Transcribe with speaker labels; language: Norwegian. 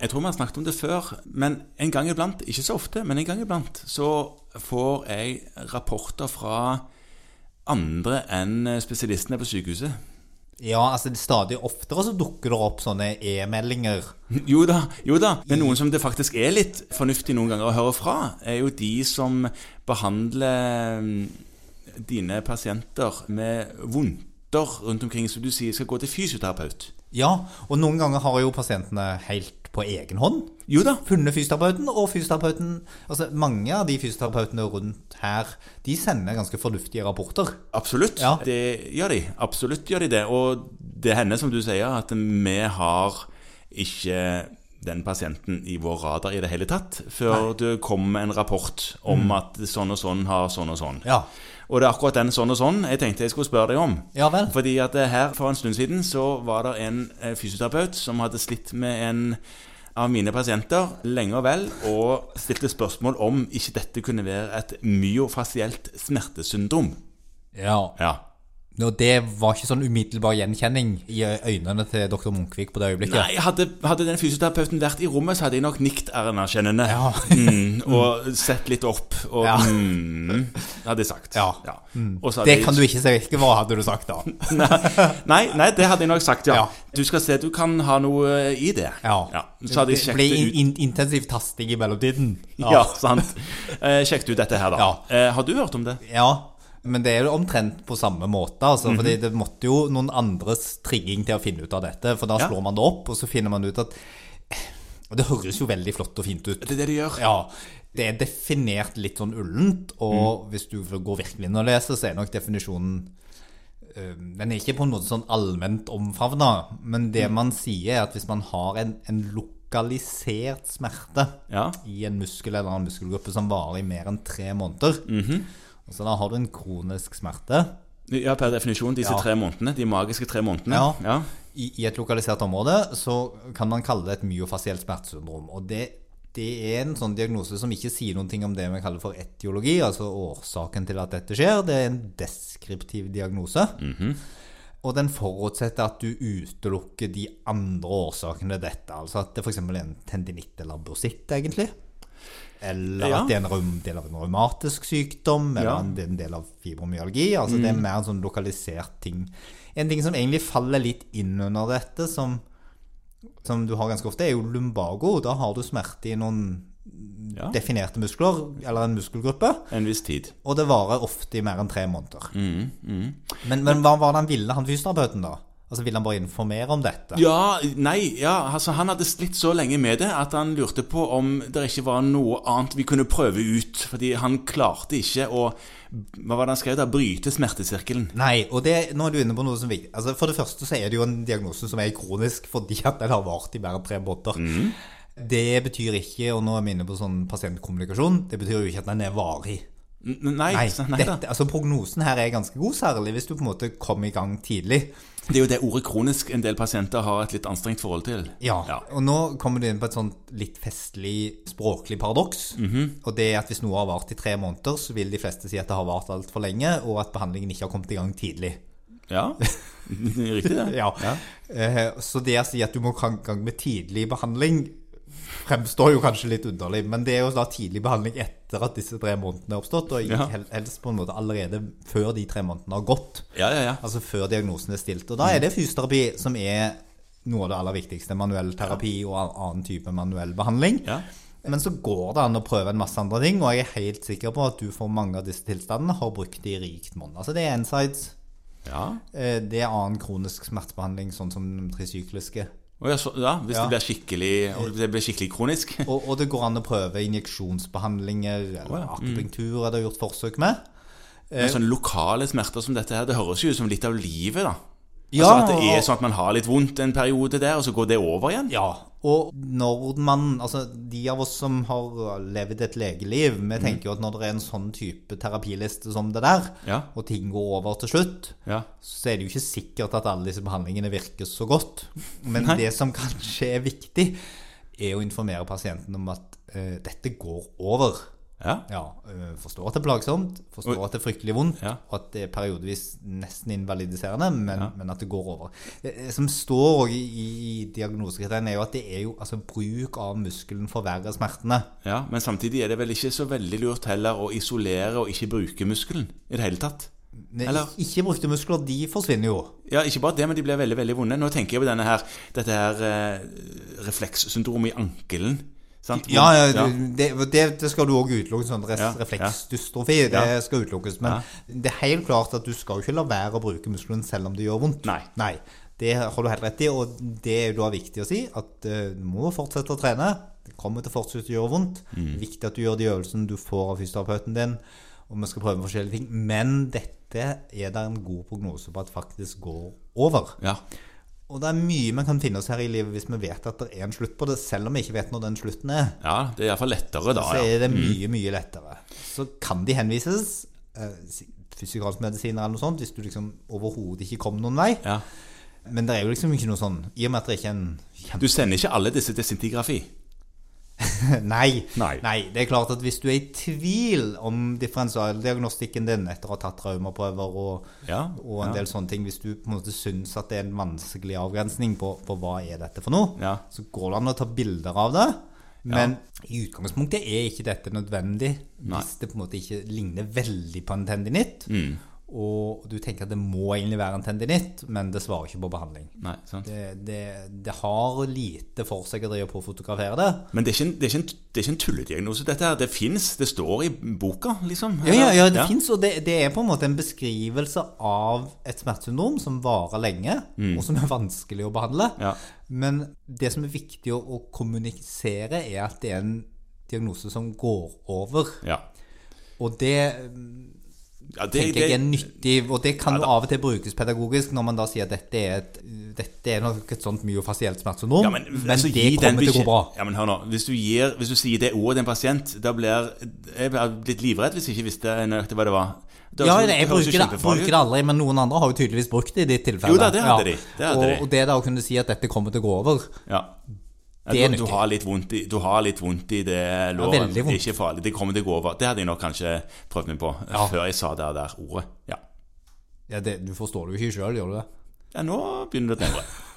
Speaker 1: Jeg tror vi har snakket om det før, men en gang iblant, ikke så ofte, men en gang iblant, så får jeg rapporter fra andre enn spesialistene på sykehuset.
Speaker 2: Ja, altså stadig oftere så dukker det opp sånne e-meldinger.
Speaker 1: Jo da, jo da. Men noen som det faktisk er litt fornuftig noen ganger å høre fra, er jo de som behandler mm, dine pasienter med vondter rundt omkring, som du sier skal gå til fysioterapeut.
Speaker 2: Ja, og noen ganger har jo pasientene helt på egen hånd
Speaker 1: Jo da.
Speaker 2: funnet fysioterapeuten, og fysioterapeuten Altså, mange av de fysioterapeutene rundt her, de sender ganske fornuftige rapporter.
Speaker 1: Absolutt.
Speaker 2: Ja.
Speaker 1: Det gjør de. Absolutt gjør de det. Og det hender, som du sier, at vi har ikke den pasienten i vår radar i det hele tatt før det kommer en rapport om at sånn og sånn har sånn og sånn.
Speaker 2: Mm. Ja.
Speaker 1: Og det er akkurat den sånn og sånn jeg tenkte jeg skulle spørre deg om.
Speaker 2: Ja vel.
Speaker 1: Fordi at eh, her for en stund siden så var det en eh, fysioterapeut som hadde slitt med en av mine pasienter lenge og vel, og stilte spørsmål om ikke dette kunne være et myofasielt smertesyndrom.
Speaker 2: Ja.
Speaker 1: Ja.
Speaker 2: Og det var ikke sånn umiddelbar gjenkjenning i øynene til doktor Munkvik på det øyeblikket.
Speaker 1: Nei, hadde, hadde den fysioterapeuten vært i rommet, så hadde jeg nok nikt anerkjennende.
Speaker 2: Ja.
Speaker 1: Mm, og sett litt opp, og
Speaker 2: Ja.
Speaker 1: mm, hadde jeg sagt.
Speaker 2: Ja. Mm.
Speaker 1: Og så hadde
Speaker 2: Det
Speaker 1: jeg-
Speaker 2: kan du ikke si. Hva hadde du sagt da?
Speaker 1: Nei, nei, det hadde jeg nok sagt, ja.
Speaker 2: Ja.
Speaker 1: Du skal se, du kan ha noe eh, i det. Så hadde jeg
Speaker 2: det
Speaker 1: sjekket
Speaker 2: ble in
Speaker 1: ut
Speaker 2: in intensiv tasting i mellomtiden.
Speaker 1: Ja, sant. Eh, sjekket ut dette her, da.
Speaker 2: Ja.
Speaker 1: Eh, har du hørt om det?
Speaker 2: Ja, men det er jo omtrent på samme måte. Altså, fordi det måtte jo noen andres trigging til å finne ut av dette. For da
Speaker 1: Ja.
Speaker 2: slår man det opp, og så finner man ut at Og det høres jo veldig flott og fint ut.
Speaker 1: Det er det de gjør.
Speaker 2: Ja, det er definert litt sånn ullent, og hvis du går virkelig inn og leser, så er nok definisjonen eh, den er ikke på noe sånn allment omfavna, men det man sier er at hvis man har en, en lokalisert smerte
Speaker 1: Ja.
Speaker 2: i en muskel eller en muskelgruppe som varer i mer enn tre måneder. Og Så da har du en kronisk smerte
Speaker 1: Ja, per definisjon, disse
Speaker 2: Ja.
Speaker 1: tre månedene. De magiske tre månedene.
Speaker 2: Ja.
Speaker 1: ja.
Speaker 2: i, i et lokalisert område, så kan man kalle det et myofasielt smertesyndrom. Og det, det er en sånn diagnose som ikke sier noen ting om det vi kaller for etiologi, altså årsaken til at dette skjer. Det er en deskriptiv diagnose. Og den forutsetter at du utelukker de andre årsakene til dette. Altså at det f.eks. er en tendinitt eller bursitt, egentlig. Eller
Speaker 1: Ja.
Speaker 2: at det er en raum- del av en revmatisk sykdom, eller
Speaker 1: Ja. Mm.
Speaker 2: en- det er en del av fibromyalgi. Altså Det er mer en sånn lokalisert ting. En ting som egentlig faller litt inn under dette, som, som du har ganske ofte, er jo lumbago. Da har du smerte i noen
Speaker 1: Ja.
Speaker 2: definerte muskler, eller en muskelgruppe,
Speaker 1: En viss tid.
Speaker 2: og det varer ofte i mer enn tre måneder.
Speaker 1: Mm,
Speaker 2: Men, men hva var det han ville, han fysioterapeuten, da? Altså Ville han bare informere om dette?
Speaker 1: Ja, nei, ja, altså han hadde slitt så lenge med det at han lurte på om det ikke var noe annet vi kunne prøve ut. Fordi han klarte ikke å Hva var det han skrev da? Bryte smertesirkelen.
Speaker 2: Nei, og det, nå er du inne på noe som er viktig. Altså, for det første så er det jo en diagnose som er kronisk fordi at den har vart i mer enn tre måneder.
Speaker 1: Mhm.
Speaker 2: Det betyr ikke, og nå er vi inne på sånn pasientkommunikasjon, det betyr jo ikke at den er varig.
Speaker 1: N nei,
Speaker 2: Nei,
Speaker 1: sa- nei da.
Speaker 2: dette, altså Prognosen her er ganske god, særlig hvis du på en måte kom i gang tidlig.
Speaker 1: Det er jo det ordet kronisk en del pasienter har et litt anstrengt forhold til.
Speaker 2: Ja,
Speaker 1: Ja.
Speaker 2: Og nå kommer du inn på et sånt litt festlig språklig paradoks.
Speaker 1: Mhm.
Speaker 2: Og det er at hvis noe har vart i tre måneder, så vil de fleste si at det har vart altfor lenge, og at behandlingen ikke har kommet i gang tidlig.
Speaker 1: Ja, Riktig, det.
Speaker 2: Ja. Eh, Så det å si at du må i gang med tidlig behandling, fremstår jo kanskje litt underlig. Men det er jo da tidlig behandling etter at disse tre månedene er oppstått, og
Speaker 1: Ja.
Speaker 2: hel- helst på en måte allerede før de tre månedene har gått.
Speaker 1: Ja, ja, ja.
Speaker 2: Altså før diagnosen er stilt. Og da
Speaker 1: Mm.
Speaker 2: er det fysioterapi som er noe av det aller viktigste. Manuell terapi og an- annen type manuell behandling.
Speaker 1: Ja.
Speaker 2: Men så går det an å prøve en masse andre ting, og jeg er helt sikker på at du for mange av disse tilstandene har brukt det i rikt monn. Altså det er NSIDES.
Speaker 1: ja.
Speaker 2: Eh, Det er annen kronisk smertebehandling, sånn som de trisykliske.
Speaker 1: Og ja, så, ja hvis
Speaker 2: Ja.
Speaker 1: det blir skikkelig, og det blir skikkelig kronisk.
Speaker 2: Og, og det går an å prøve injeksjonsbehandlinger eller
Speaker 1: ja. Mm.
Speaker 2: akupunktur, er det gjort forsøk med. Eh.
Speaker 1: Men sånne lokale smerter som dette her, det høres jo ut som litt av livet, da.
Speaker 2: Ja,
Speaker 1: altså At det
Speaker 2: og-
Speaker 1: er sånn at man har litt vondt en periode der, og så går det over igjen.
Speaker 2: Ja, og når man, altså de av oss som har levd et legeliv,
Speaker 1: Mm.
Speaker 2: vi tenker jo at når det er en sånn type terapiliste som det der,
Speaker 1: Ja.
Speaker 2: og ting går over til slutt,
Speaker 1: Ja.
Speaker 2: så er det jo ikke sikkert at alle disse behandlingene virker så godt. Men det som kanskje er viktig, er å informere pasienten om at eh, dette går over.
Speaker 1: Ja.
Speaker 2: Ja, øh, forstår at det er plagsomt, forstår at det er fryktelig vondt,
Speaker 1: Ja.
Speaker 2: og at det er periodevis nesten invalidiserende, men,
Speaker 1: Ja.
Speaker 2: men at det går over. Det det som står også i, i, i diagnosekriterien, er jo at det er jo altså, bruk av muskelen forverrer smertene.
Speaker 1: ja. Men samtidig er det vel ikke så veldig lurt heller å isolere og ikke bruke muskelen i det hele tatt.
Speaker 2: Men
Speaker 1: Eller-
Speaker 2: ik- Ikke brukte muskler, de forsvinner jo.
Speaker 1: Ja, ikke bare det, men de blir veldig, veldig vonde. Nå tenker jeg på denne her, dette her eh, reflekssyndromet i ankelen. Sant? Hvor-
Speaker 2: Ja, ja, det, det, det skal du òg utelukke. Sånn res-
Speaker 1: Ja, ja.
Speaker 2: refleksdystrofi det
Speaker 1: Ja.
Speaker 2: skal utelukkes. Men det er helt klart at du skal jo ikke la være å bruke muskelen selv om det gjør vondt.
Speaker 1: Nei.
Speaker 2: Det har du helt rett i, og det er jo da viktig å si at eh, du må fortsette å trene. Det kommer til å fortsette å gjøre vondt. Det
Speaker 1: Mm.
Speaker 2: er Viktig at du gjør de øvelsene du får av fysioterapeuten din. Og vi skal prøve forskjellige ting. Men dette er det en god prognose på at faktisk går over.
Speaker 1: Ja,
Speaker 2: Og det er mye man kan finne oss her i livet hvis vi vet at det er en slutt på det, selv om vi ikke vet når den slutten er.
Speaker 1: ja det er iallfall lettere da.
Speaker 2: Så
Speaker 1: Ja. Mm.
Speaker 2: er det mye, mye lettere. Så kan de henvises, eh, fysikalsk medisiner eller noe sånt, hvis du liksom overhodet ikke kom noen vei.
Speaker 1: Ja.
Speaker 2: Men det er jo liksom ikke noe sånn, i og med at det ikke er en kjempe...
Speaker 1: Du sender ikke alle disse til sintigrafi.
Speaker 2: Nei.
Speaker 1: Nei.
Speaker 2: det er klart at hvis du er i tvil om differensialdiagnostikken din etter å ha tatt traumaprøver og,
Speaker 1: Ja,
Speaker 2: og
Speaker 1: ja.
Speaker 2: en del sånne ting, hvis du på en måte syns at det er en vanskelig avgrensning på, på hva er dette for noe,
Speaker 1: Ja.
Speaker 2: så går det an å ta bilder av det. Men i utgangspunktet er ikke dette nødvendig hvis det på en måte ikke ligner veldig på en tendinitt.
Speaker 1: Mm.
Speaker 2: Og du tenker at det må egentlig være en tendinitt, men det svarer ikke på behandling.
Speaker 1: Nei, sant?
Speaker 2: Det, det, det har lite for seg å drive på å fotografere det.
Speaker 1: Men det er, ikke en, det, er ikke en, det er ikke en tullediagnose, dette her. Det fins, det står i boka, liksom.
Speaker 2: Ja, ja, ja det
Speaker 1: Ja.
Speaker 2: finnes, og det, det er på en måte en beskrivelse av et smertesyndrom som varer lenge, og som er vanskelig å behandle.
Speaker 1: Mm. Ja.
Speaker 2: Men det som er viktig å, å kommunisere, er at det er en diagnose som går over.
Speaker 1: Ja.
Speaker 2: Og det
Speaker 1: Ja, det,
Speaker 2: tenker jeg er nyttig, og det kan jo av og til brukes pedagogisk når man da sier at dette er, et, dette er nok et sånt myofasielt smertesyndrom,
Speaker 1: Ja, men,
Speaker 2: men,
Speaker 1: altså,
Speaker 2: det
Speaker 1: gi den
Speaker 2: kommer til å
Speaker 1: beskjed-
Speaker 2: gå bra.
Speaker 1: Ja, men hør nå. Hvis du, gir, hvis du sier det ordet til en pasient, da blir Jeg blir blitt livredd hvis jeg ikke visste nøyaktig hva det var. Det
Speaker 2: Ja,
Speaker 1: høres jo-
Speaker 2: jeg
Speaker 1: høres jo
Speaker 2: bruker det,
Speaker 1: kjempefarlig ut.
Speaker 2: bruker det aldri, men noen andre har jo tydeligvis brukt det i ditt tilfelle.
Speaker 1: Jo da, det hadde de. Det hadde
Speaker 2: og,
Speaker 1: de.
Speaker 2: og det da å kunne si at dette kommer til å gå over,
Speaker 1: Ja. Ja,
Speaker 2: Det er
Speaker 1: du, du,
Speaker 2: nyttig.
Speaker 1: har litt vondt i, du har litt vondt i det låret.
Speaker 2: veldig
Speaker 1: det
Speaker 2: vondt.
Speaker 1: er ikke farlig. Det kommer til å gå over. Det hadde jeg nok kanskje prøvd meg på før jeg sa det der ordet. Ja.
Speaker 2: ja, det, du forstår det jo ikke sjøl, gjør du det?
Speaker 1: ja, nå begynner det å demre.